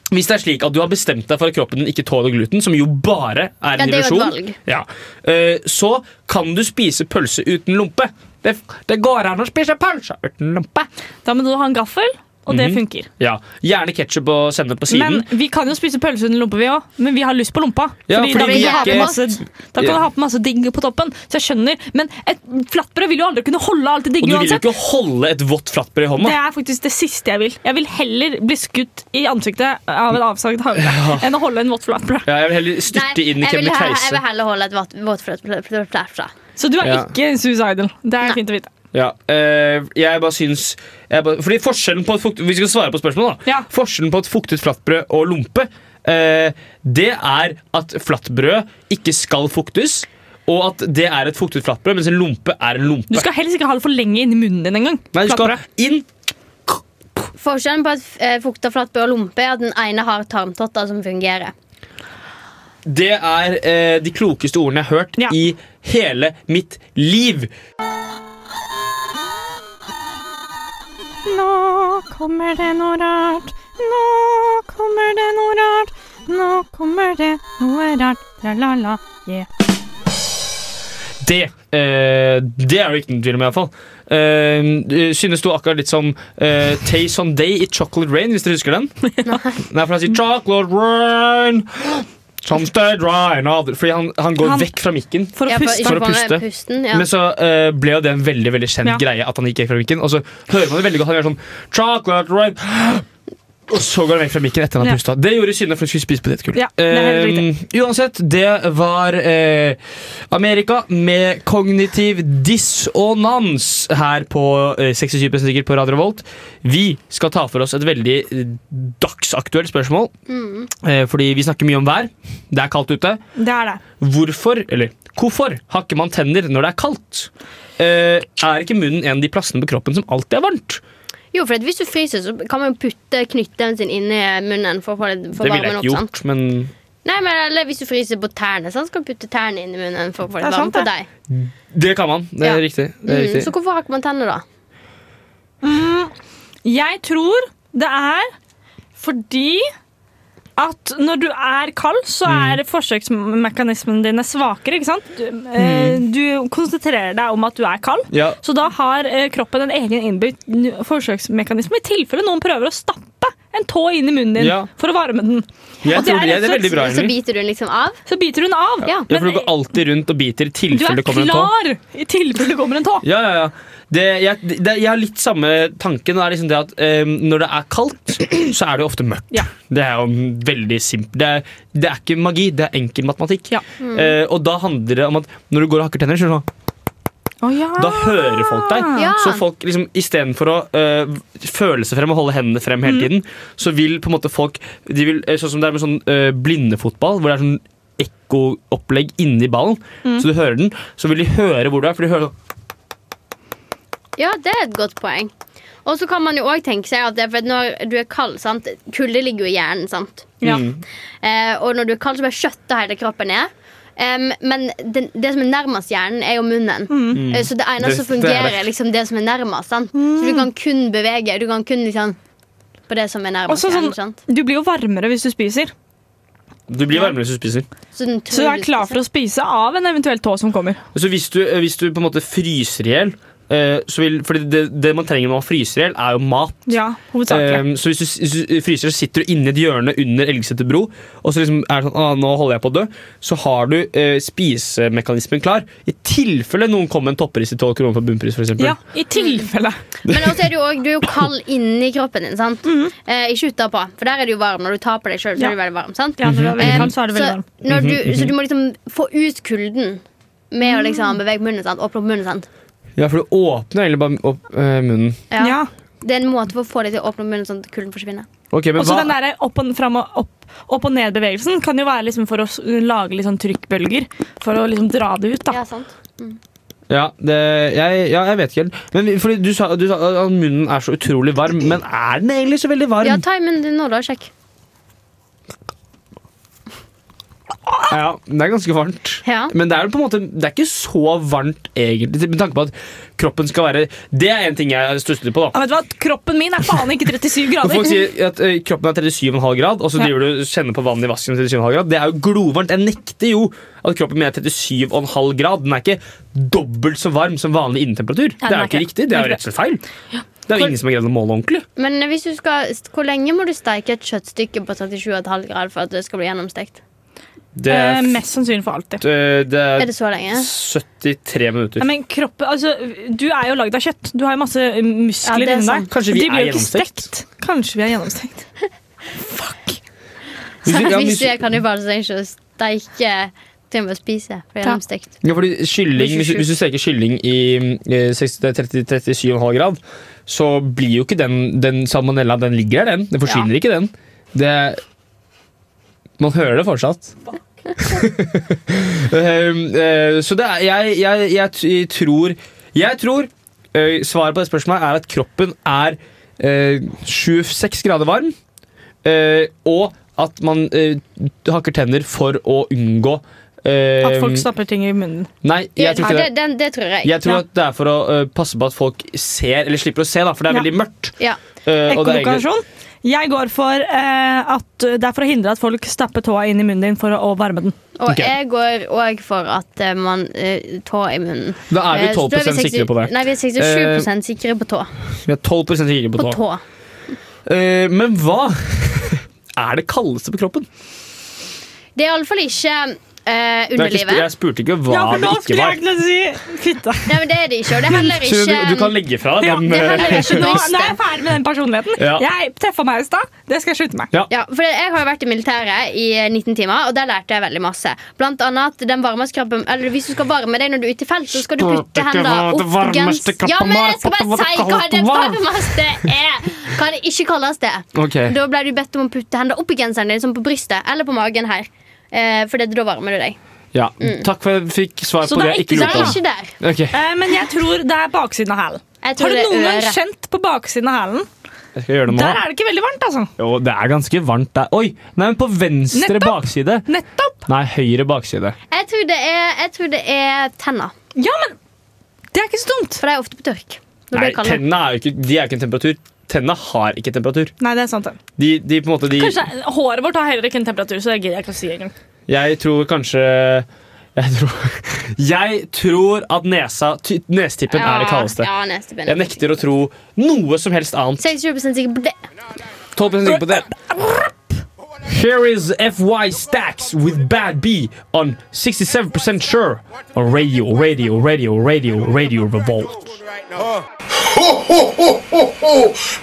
Speaker 2: hvis det er slik at du har bestemt deg for at kroppen din ikke tåler gluten, som jo bare er
Speaker 3: Ja,
Speaker 2: en
Speaker 3: det er jo et
Speaker 2: illusjon,
Speaker 3: valg.
Speaker 2: ja, eh, så kan du spise pølse uten lompe. Det, det går an å spise pølse uten lompe.
Speaker 1: Da må du ha en gaffel, og
Speaker 2: Mhm.
Speaker 1: det funker.
Speaker 2: Ja, Gjerne ketsjup og sennep på siden.
Speaker 1: Men vi kan jo spise pølse uten lompe, vi òg. Men vi har lyst på lompa.
Speaker 2: Ja,
Speaker 1: Fordi
Speaker 2: fordi
Speaker 1: da, kan
Speaker 3: vi
Speaker 1: du ha på
Speaker 3: ikke-
Speaker 1: masse, da kan du ha på masse digg på toppen. Så jeg skjønner. Men et flatbrød vil jo aldri kunne holde alt det
Speaker 2: og
Speaker 1: digge
Speaker 2: du vil jo
Speaker 1: uansett.
Speaker 2: ikke holde et vått flatbrød i hånda.
Speaker 1: Det er faktisk det siste jeg vil. Jeg vil heller bli skutt i ansiktet av en avsagd hagle enn å holde en vått flatbrød.
Speaker 2: Ja, jeg vil heller styrte
Speaker 3: Nei,
Speaker 2: inn i
Speaker 3: jeg vil heller- jeg
Speaker 2: Kebnekaise.
Speaker 3: vil heller holde et våt- våtflatbrød.
Speaker 1: Så du er
Speaker 2: Ja.
Speaker 1: ikke suicidal. Det er
Speaker 3: Nei.
Speaker 1: fint å vite.
Speaker 2: Ja, eh, jeg bare syns jeg bare, Fordi forskjellen på et fukt, Vi skal svare på spørsmålet, da.
Speaker 1: Ja.
Speaker 2: Forskjellen på et fuktet flatbrød og lompe, eh, det er at flatbrød ikke skal fuktes, og at det er et fuktet flatbrød, mens en lompe er en lompe.
Speaker 1: Du skal helst ikke ha det for lenge inni munnen din engang.
Speaker 2: Nei, du skal
Speaker 1: Flatbrød.
Speaker 2: inn
Speaker 3: Forskjellen på et eh, fukta flatbrød og lompe er at den ene har tarmtotter som fungerer.
Speaker 2: Det er eh, de klokeste ordene jeg har hørt
Speaker 1: Ja.
Speaker 2: i hele mitt liv.
Speaker 1: Nå kommer det noe rart. Nå kommer det noe rart. Nå kommer det noe rart. Tra-la-la, yeah.
Speaker 2: Det, eh, det er det ikke noen tvil om, iallfall. Uh, synes det var akkurat litt som uh, Tay Day i Chocolate Rain, hvis dere husker den. Nei, for han sier 'Chocolate Rain'. Somestead rain of the-" Fordi han, han går
Speaker 1: Han-
Speaker 2: vekk fra mikken.
Speaker 1: For
Speaker 3: Ja,
Speaker 1: å
Speaker 3: for-
Speaker 1: puste.
Speaker 3: ikke
Speaker 2: For å
Speaker 3: få med
Speaker 2: puste.
Speaker 3: Pusten, ja.
Speaker 2: Men så eh, ble jo det en veldig veldig kjent
Speaker 1: Ja.
Speaker 2: greie at han gikk vekk fra mikken. Og så hører man det veldig godt. Han gjør sånn 'Chocolate rain'. Og så går han vekk fra mikken etter han har
Speaker 1: Ja.
Speaker 2: pusta. Det gjorde Synne, for hun skulle spise potetgull.
Speaker 1: Ja, det er helt
Speaker 2: Eh, uansett, det var eh, Amerika med kognitiv dissonans her på eh, 67 sikker på Radio Volt. Vi skal ta for oss et veldig eh, dagsaktuelt spørsmål.
Speaker 1: Mm.
Speaker 2: Eh, fordi vi snakker mye om vær. Det er kaldt ute.
Speaker 1: Det er det.
Speaker 2: Hvorfor, eller hvorfor hakker man tenner når det er kaldt? Eh, er ikke munnen en av de plassene på kroppen som alltid er varmt?
Speaker 3: Jo, for at hvis du fryser, så kan man jo putte knyttneven sin inni munnen for å få litt for
Speaker 2: det ville
Speaker 3: varmen
Speaker 2: jeg
Speaker 3: opp.
Speaker 2: ikke
Speaker 3: Sant?
Speaker 2: gjort, men
Speaker 3: Nei, men eller hvis du fryser på tærne, sant? så kan du putte tærne inni munnen for å få
Speaker 1: Det er
Speaker 3: litt varme
Speaker 1: sant,
Speaker 3: på
Speaker 1: det.
Speaker 3: deg.
Speaker 2: det kan man. Det er
Speaker 3: Ja.
Speaker 2: riktig. Det er
Speaker 3: Mm,
Speaker 2: riktig.
Speaker 3: så hvorfor har ikke man tenner, da?
Speaker 1: Jeg tror det er fordi at når du er kald, så
Speaker 2: Mm.
Speaker 1: er forsøksmekanismene dine svakere. ikke sant? Du, eh,
Speaker 2: Mm.
Speaker 1: du konsentrerer deg om at du er kald,
Speaker 2: Ja.
Speaker 1: så da har eh, kroppen en egen innbygd n- forsøksmekanisme i tilfelle noen prøver å stappe en tå inn i munnen din
Speaker 2: Ja.
Speaker 1: for å varme den.
Speaker 2: Jeg
Speaker 1: Og det
Speaker 2: tror
Speaker 1: er
Speaker 2: det,
Speaker 1: rett og
Speaker 2: det er veldig
Speaker 1: slett-
Speaker 2: bra,
Speaker 3: Så
Speaker 2: Henrik.
Speaker 3: biter du den liksom av?
Speaker 1: Så biter hun av. eh,
Speaker 3: Ja.
Speaker 2: Ja, for du går alltid rundt og biter i
Speaker 1: Du
Speaker 2: tilfelle
Speaker 1: er
Speaker 2: det kommer en tå.
Speaker 1: klar i tilfelle det kommer en tå.
Speaker 2: Ja, ja, ja. Det, jeg, det, jeg har litt samme tanken. Det er liksom det at eh, Når det er kaldt, så er det jo ofte mørkt.
Speaker 1: Ja.
Speaker 2: Det er jo veldig simpelt. Det, er- det er ikke magi, det er enkel matematikk.
Speaker 1: Ja.
Speaker 2: Eh, og da handler det om at når du går og hakker tenner, så er det sånn Da hører folk deg.
Speaker 3: Ja.
Speaker 2: Så folk liksom istedenfor å øh, føle seg frem og holde hendene frem hele tiden, så vil på en måte folk de vil, eh, Sånn som det er med sånn øh, blindefotball, hvor det er sånn ekkoopplegg inni ballen, så du hører den, så vil de høre hvor du er. For de hører sånn
Speaker 3: Ja, det er et godt poeng. Og så kan man jo òg tenke seg at det, er for at når du er kald sant? Kulde ligger jo i hjernen, sant?
Speaker 1: Ja.
Speaker 2: mm,
Speaker 3: Eh, og når du er kald, så bare skjøtter hele kroppen ned. Em, men det, det som er nærmest hjernen, er jo munnen.
Speaker 1: Mm.
Speaker 3: Eh, Så det eneste
Speaker 2: Det-
Speaker 3: som
Speaker 2: det er
Speaker 3: fungerer,
Speaker 2: det.
Speaker 1: Mm.
Speaker 3: er liksom det som er nærmest. Sant? Så du kan kun bevege. Du kan kun liksom på det som er nærmest.
Speaker 1: Også sånn-
Speaker 3: ikke sant?
Speaker 1: Du blir jo varmere hvis du spiser,
Speaker 2: Du blir varmere hvis du spiser.
Speaker 3: Så, den
Speaker 1: så du er klar for å spise av en eventuell tå som kommer.
Speaker 2: Så hvis du, eh, hvis du på en måte fryser i hjel eh, så vil, fordi det, det man trenger når man fryser i hjel, er jo mat.
Speaker 1: Ja, hovedsakelig.
Speaker 2: Eh, så hvis du, s- hvis du fryser, så sitter du inni et hjørne under Elgeseter bro, og så liksom er det sånn ah, 'Nå holder jeg på å dø', så har du eh, spisemekanismen klar. I tilfelle noen kommer med en toppris i 12 kroner på bunnpris, f.eks.
Speaker 1: Ja, I tilfelle.
Speaker 3: Men også er du, også, du er jo kald inni kroppen din, sant? Eh, ikke utapå, for der er du jo varm. Når du tar på deg sjøl, så
Speaker 1: Mm. Ja.
Speaker 3: er du veldig varm. sant?
Speaker 1: Ja, når
Speaker 2: Mhm.
Speaker 1: det er veldig
Speaker 3: Eh,
Speaker 1: kaldt, så er det veldig
Speaker 3: så,
Speaker 1: varmt.
Speaker 3: når du, så du må liksom få ut kulden med å liksom bevege munnen. sant? Åpne opp munnen. sant?
Speaker 2: Ja, for du åpner egentlig bare opp eh, munnen.
Speaker 3: Ja.
Speaker 1: Ja.
Speaker 3: Det er en måte for å få deg til å åpne opp munnen sånn at kulden forsvinner.
Speaker 2: Ok, men
Speaker 1: Og så
Speaker 2: hva,
Speaker 1: den der opp og, fram og, opp, opp og ned-bevegelsen kan jo være liksom for å s- lage litt sånn trykkbølger. For å liksom dra det ut, da.
Speaker 3: Ja, sant?
Speaker 2: ja, det, jeg, ja, jeg vet ikke helt. Men vi- fordi du sa, du sa at munnen er så utrolig varm, men er den egentlig så veldig varm?
Speaker 3: Ja, ta i munnen din nå, da. Sjekk.
Speaker 2: Ja, det er ganske varmt.
Speaker 3: Ja.
Speaker 2: Men det er jo på en måte Det er ikke så varmt, egentlig, med tanke på at kroppen skal være Det er en ting jeg stusser litt på, da.
Speaker 1: Ja, vet du hva? Kroppen min er faen ikke 37
Speaker 2: Når
Speaker 1: grader.
Speaker 2: folk sier at eh, kroppen er 37,5 grad, og så
Speaker 1: Ja.
Speaker 2: driver du og kjenner på vannet i vasken, 37,5 grad det er jo glovarmt. Jeg nekter jo at kroppen min er 37,5 grad. Den er ikke dobbelt så varm som vanlig innetemperatur.
Speaker 1: Ja, den
Speaker 2: det er
Speaker 1: er
Speaker 2: jo ikke
Speaker 1: ikke.
Speaker 2: riktig. Det er jo rett og slett feil. Det er jo ingen som har greid å måle ordentlig.
Speaker 3: Men hvis du skal, hvor lenge må du steike et kjøttstykke på 37,5 grader for at det skal bli gjennomstekt?
Speaker 2: Det
Speaker 1: Eh,
Speaker 2: er, f-
Speaker 1: mest sannsynlig for alltid.
Speaker 2: eh, det
Speaker 3: Er
Speaker 2: er
Speaker 3: det så lenge?
Speaker 2: 73
Speaker 1: Ja,
Speaker 2: minutter.
Speaker 1: men kroppen, altså, du er jo lagd av kjøtt. Du har jo masse eh,
Speaker 3: Ja,
Speaker 1: muskler
Speaker 3: det er
Speaker 1: inni deg.
Speaker 3: sant.
Speaker 2: Kanskje vi
Speaker 1: De blir
Speaker 2: er
Speaker 1: jo ikke
Speaker 2: gjennomstekt?
Speaker 1: stekt. Kanskje vi er gjennomstekt.
Speaker 2: Hvis du- ja, hvis-
Speaker 3: hvis du er kannibal, så trenger du ikke å steike til å spise. For det er
Speaker 1: Ja.
Speaker 3: gjennomstekt.
Speaker 2: Ja, fordi kylling, hvis, du- hvis du steker kylling i eh, 60 til 30 37,5 grad, så blir jo ikke den, den salmonella Den ligger der, den. Den forsvinner ikke, den. Det Man hører det fortsatt. Um, eh, så det er Jeg, jeg, jeg, t- tror Jeg tror eh, svaret på det spørsmålet er at kroppen er eh, 26 grader varm, eh, og at man eh, hakker tenner for å unngå eh,
Speaker 1: At folk stapper ting i munnen.
Speaker 2: Nei,
Speaker 3: Ja,
Speaker 2: jeg tror ikke
Speaker 3: det,
Speaker 2: det.
Speaker 3: den, det tror jeg.
Speaker 2: Jeg tror
Speaker 1: Ja.
Speaker 2: at det er for å ø, passe på at folk ser, eller slipper å se, da, for det er
Speaker 1: Ja.
Speaker 2: veldig mørkt.
Speaker 3: Ja.
Speaker 2: Ø, eh, og det er egentlig-
Speaker 1: Ekkolokasjon. Jeg går for eh, at det er for å hindre at folk stapper tåa inn i munnen din for å, å varme den.
Speaker 3: Og
Speaker 2: Ok.
Speaker 3: jeg går òg for at eh, man uh, tå i munnen.
Speaker 2: da er vi
Speaker 3: Eh, så
Speaker 2: 12
Speaker 3: da er vi
Speaker 2: sikre
Speaker 3: 60
Speaker 2: på det.
Speaker 3: Nei, vi er 67 sikre på tå.
Speaker 2: Vi er 12 sikre på
Speaker 3: På
Speaker 2: tå.
Speaker 3: tå.
Speaker 2: Eh, men hva er det kaldeste på kroppen?
Speaker 3: Det er iallfall ikke eh,
Speaker 2: Det er ikke, sp-
Speaker 3: underlivet.
Speaker 2: jeg spurte ikke hva det ikke var.
Speaker 1: egentlig si fitte.
Speaker 3: Nei, men det er det ikke. Og det er heller
Speaker 2: Så du,
Speaker 3: ikke
Speaker 2: du kan legge fra deg
Speaker 1: Ja,
Speaker 2: den.
Speaker 3: det er
Speaker 2: ø,
Speaker 3: heller ikke
Speaker 1: Nå, nå er jeg
Speaker 3: brystet.
Speaker 1: ferdig med den personligheten.
Speaker 2: eh, Ja.
Speaker 1: Jeg teffa meg i stad. Det skal jeg slutte med.
Speaker 3: Ja, for jeg har jo vært i militæret i 19 timer, og der lærte jeg veldig masse. Blant annet at den varmeste kroppen Eller hvis du skal varme deg når du er ute i felt, så skal du putte hendene opp gens- Ja, men jeg skal bare si hva det varmeste er! Hva det ikke kalles det.
Speaker 2: Ok.
Speaker 3: Da ble du bedt om å putte hendene opp i genseren din, som på brystet eller på magen her. Eh, for det, da varmer du deg.
Speaker 2: Ja. Takk for at jeg fikk svar
Speaker 1: Så
Speaker 2: på det
Speaker 1: det er
Speaker 2: jeg ikke
Speaker 1: ikke
Speaker 3: Så
Speaker 2: lurte
Speaker 3: det
Speaker 2: på.
Speaker 3: er ikke der.
Speaker 2: Ok,
Speaker 1: Eh, men jeg tror det er baksiden av hælen.
Speaker 3: Jeg
Speaker 1: Har
Speaker 3: tror
Speaker 1: du
Speaker 3: det
Speaker 1: noen
Speaker 3: er
Speaker 1: gang
Speaker 3: øret.
Speaker 1: kjent på baksiden av hælen?
Speaker 2: jeg skal gjøre det
Speaker 1: Der
Speaker 2: nå.
Speaker 1: er det ikke veldig varmt, altså.
Speaker 2: Jo, det er ganske varmt der. Oi! Nei, men på venstre
Speaker 1: Nettopp.
Speaker 2: bakside.
Speaker 1: Nettopp.
Speaker 2: Nei, høyre bakside.
Speaker 3: Jeg tror det er, jeg tror det er tenna.
Speaker 1: Ja, men det er ikke så dumt.
Speaker 3: For de er ofte på tørk. Når
Speaker 2: Nei,
Speaker 3: det er kaldt.
Speaker 2: tennene er jo ikke, de er ikke en temperatur. Tennene har ikke temperatur.
Speaker 1: Nei, det er sant. det.
Speaker 2: De, de på en måte, de,
Speaker 1: Kanskje Håret vårt har heller ikke en temperatur, så det gidder jeg ikke å si engang.
Speaker 2: Jeg tror kanskje Jeg tror, jeg tror at nesa, ty, nestippen er det kaldeste.
Speaker 3: Ja, neste ben.
Speaker 2: Jeg nekter å tro noe som helst annet.
Speaker 3: 26 sikker på det.
Speaker 2: 12 sikker på det. Here is FY Stacks with Bad B on 67% sure on radio, radio, radio, radio, radio revolt.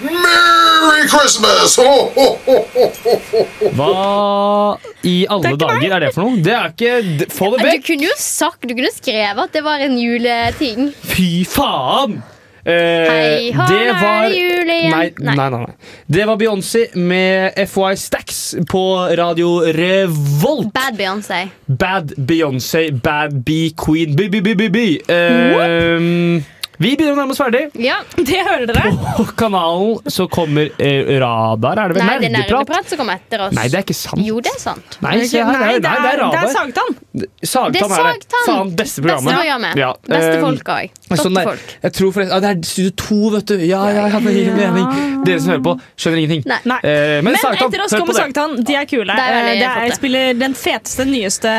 Speaker 8: Merry Christmas! Ho, ho, ho, ho, ho, ho.
Speaker 2: Hva i alle dager er det for noe? Det er ikke d- Få det
Speaker 3: Du
Speaker 2: vekk!
Speaker 3: kunne jo sagt, du kunne skrevet at det var en juleting.
Speaker 2: Fy faen! Eh,
Speaker 3: Hei, hå,
Speaker 2: det
Speaker 3: nå er
Speaker 2: var
Speaker 3: det jul igjen.
Speaker 2: Nei, nei,
Speaker 3: Nei.
Speaker 2: nei, nei. Det var Beyoncé med FY Stacks på Radio Revolt.
Speaker 3: Bad Beyoncé.
Speaker 2: Bad Beyoncé, Bad B Queen, B-B-B-B-B. vi begynner å nærme oss ferdig.
Speaker 3: Ja.
Speaker 1: Det hører dere.
Speaker 2: På kanalen så kommer eh, Radar. Er det
Speaker 3: Nei,
Speaker 2: vel
Speaker 3: det er
Speaker 2: nerdeprat?
Speaker 3: nerdeprat som kommer etter oss.
Speaker 2: Nei, det er ikke sant.
Speaker 3: Jo, det er sant.
Speaker 2: Nei, se her,
Speaker 1: Nei, det er,
Speaker 2: nei, det er Radar.
Speaker 1: Sagtann.
Speaker 2: Sagtann
Speaker 3: Det er
Speaker 2: er det.
Speaker 3: Sagtann.
Speaker 2: Faen, beste
Speaker 3: Beste
Speaker 2: programmet.
Speaker 3: programmet.
Speaker 2: Ja.
Speaker 3: Beste
Speaker 2: Eh,
Speaker 3: folka òg.
Speaker 2: sånn der-
Speaker 3: Toppfolk.
Speaker 2: Jeg tror forresten, ah, Det er Studio 2, vet du. Ja, ja, ja, det gir mening. Dere som hører på, skjønner ingenting.
Speaker 3: Nei.
Speaker 1: Nei.
Speaker 2: Eh, men
Speaker 1: Men
Speaker 2: Sagtann,
Speaker 1: etter oss
Speaker 2: hør på
Speaker 1: kommer
Speaker 2: det.
Speaker 1: Sagtann. De er kule.
Speaker 3: Det er veldig
Speaker 1: Eh, det er,
Speaker 3: flotte.
Speaker 1: spiller den feteste, nyeste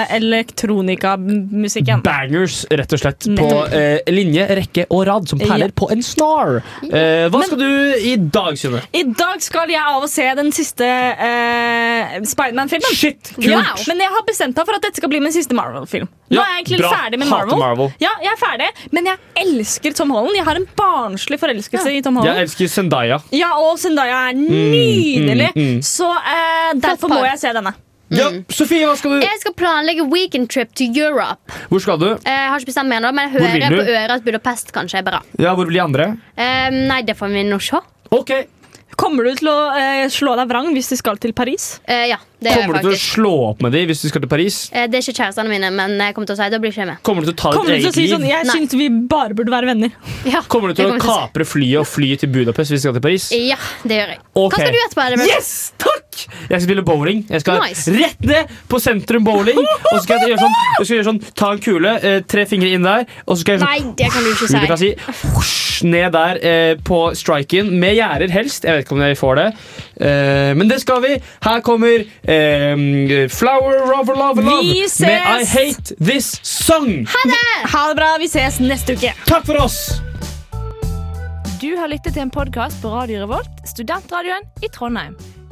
Speaker 1: elektronikamusikken.
Speaker 2: Bangers, rett og slett, på
Speaker 1: Nettopp.
Speaker 2: eh, linje, rekke og rad, som perler
Speaker 1: Ja.
Speaker 2: på en snar. Eh, hva skal du i dag, Synne?
Speaker 1: I dag skal jeg av og se den siste eh, Spiderman-filmen.
Speaker 2: Shit, kult!
Speaker 1: Ja, men jeg har bestemt meg for at dette skal bli min siste Marvel-film. Nå
Speaker 2: Ja,
Speaker 1: er jeg egentlig
Speaker 2: bra.
Speaker 1: ferdig med
Speaker 2: Hater
Speaker 1: Marvel.
Speaker 2: Marvel.
Speaker 1: Ja, jeg er ferdig, men jeg elsker Tom Holland. Jeg har en barnslig forelskelse i Tom
Speaker 2: Jeg
Speaker 1: Holland.
Speaker 2: elsker Zendaya.
Speaker 1: Ja, og Zendaya er nydelig,
Speaker 2: mm, mm.
Speaker 1: så eh, derfor
Speaker 3: par.
Speaker 1: må jeg se denne.
Speaker 2: Ja, Sofie, hva skal du?
Speaker 3: Jeg skal planlegge weekend trip to Europe.
Speaker 2: Hvor skal du?
Speaker 3: Jeg har ikke bestemt meg ennå, men jeg
Speaker 2: Hvor vil
Speaker 3: hører
Speaker 2: du?
Speaker 3: på øret at Budapest kanskje er bra.
Speaker 2: Ja, Hvor blir de andre?
Speaker 3: Eh, nei, det får vi nå se.
Speaker 2: Ok,
Speaker 1: Kommer du til å eh, slå deg vrang hvis du skal til Paris?
Speaker 3: Eh, ja, det gjør jeg
Speaker 2: Kommer du til å
Speaker 3: faktisk.
Speaker 2: slå opp med de hvis du skal til Paris?
Speaker 3: Eh, det er ikke kjærestene mine, men jeg kommer til å si det. blir ikke jeg med.
Speaker 2: Kommer du til å ta
Speaker 1: Kommer
Speaker 2: ditt
Speaker 1: du til å
Speaker 2: eget
Speaker 1: si
Speaker 2: liv?
Speaker 1: sånn Jeg
Speaker 3: Nei.
Speaker 1: syns vi bare burde være venner.
Speaker 3: Ja,
Speaker 2: Kommer du
Speaker 3: det
Speaker 2: til å
Speaker 3: jeg si.
Speaker 2: kapre flyet og fly til Budapest hvis du skal til Paris?
Speaker 3: Ja, det gjør jeg.
Speaker 2: Ok.
Speaker 3: Hva skal du gjøre på Edinburgh?
Speaker 2: Yes, takk! Jeg skal spille bowling. Jeg skal
Speaker 3: Nice.
Speaker 2: Rett ned på sentrum bowling. Og så skal jeg gjøre sånn, jeg skal gjøre sånn ta en kule, eh, tre fingre inn der, og så skal jeg
Speaker 3: Nei, det kan du ikke
Speaker 2: sånn, du kan
Speaker 3: si.
Speaker 2: si husj, ned der eh, på striken, med gjerder helst. Jeg vet ikke om dere får det. Eh, men det skal vi. Her kommer eh, Flower Rover Love Love
Speaker 1: Vi ses!
Speaker 2: med I Hate This Song.
Speaker 1: Ha det bra, vi ses neste uke.
Speaker 2: Takk for oss!
Speaker 9: Du har lyttet til en podkast på Radio Revolt, studentradioen i Trondheim.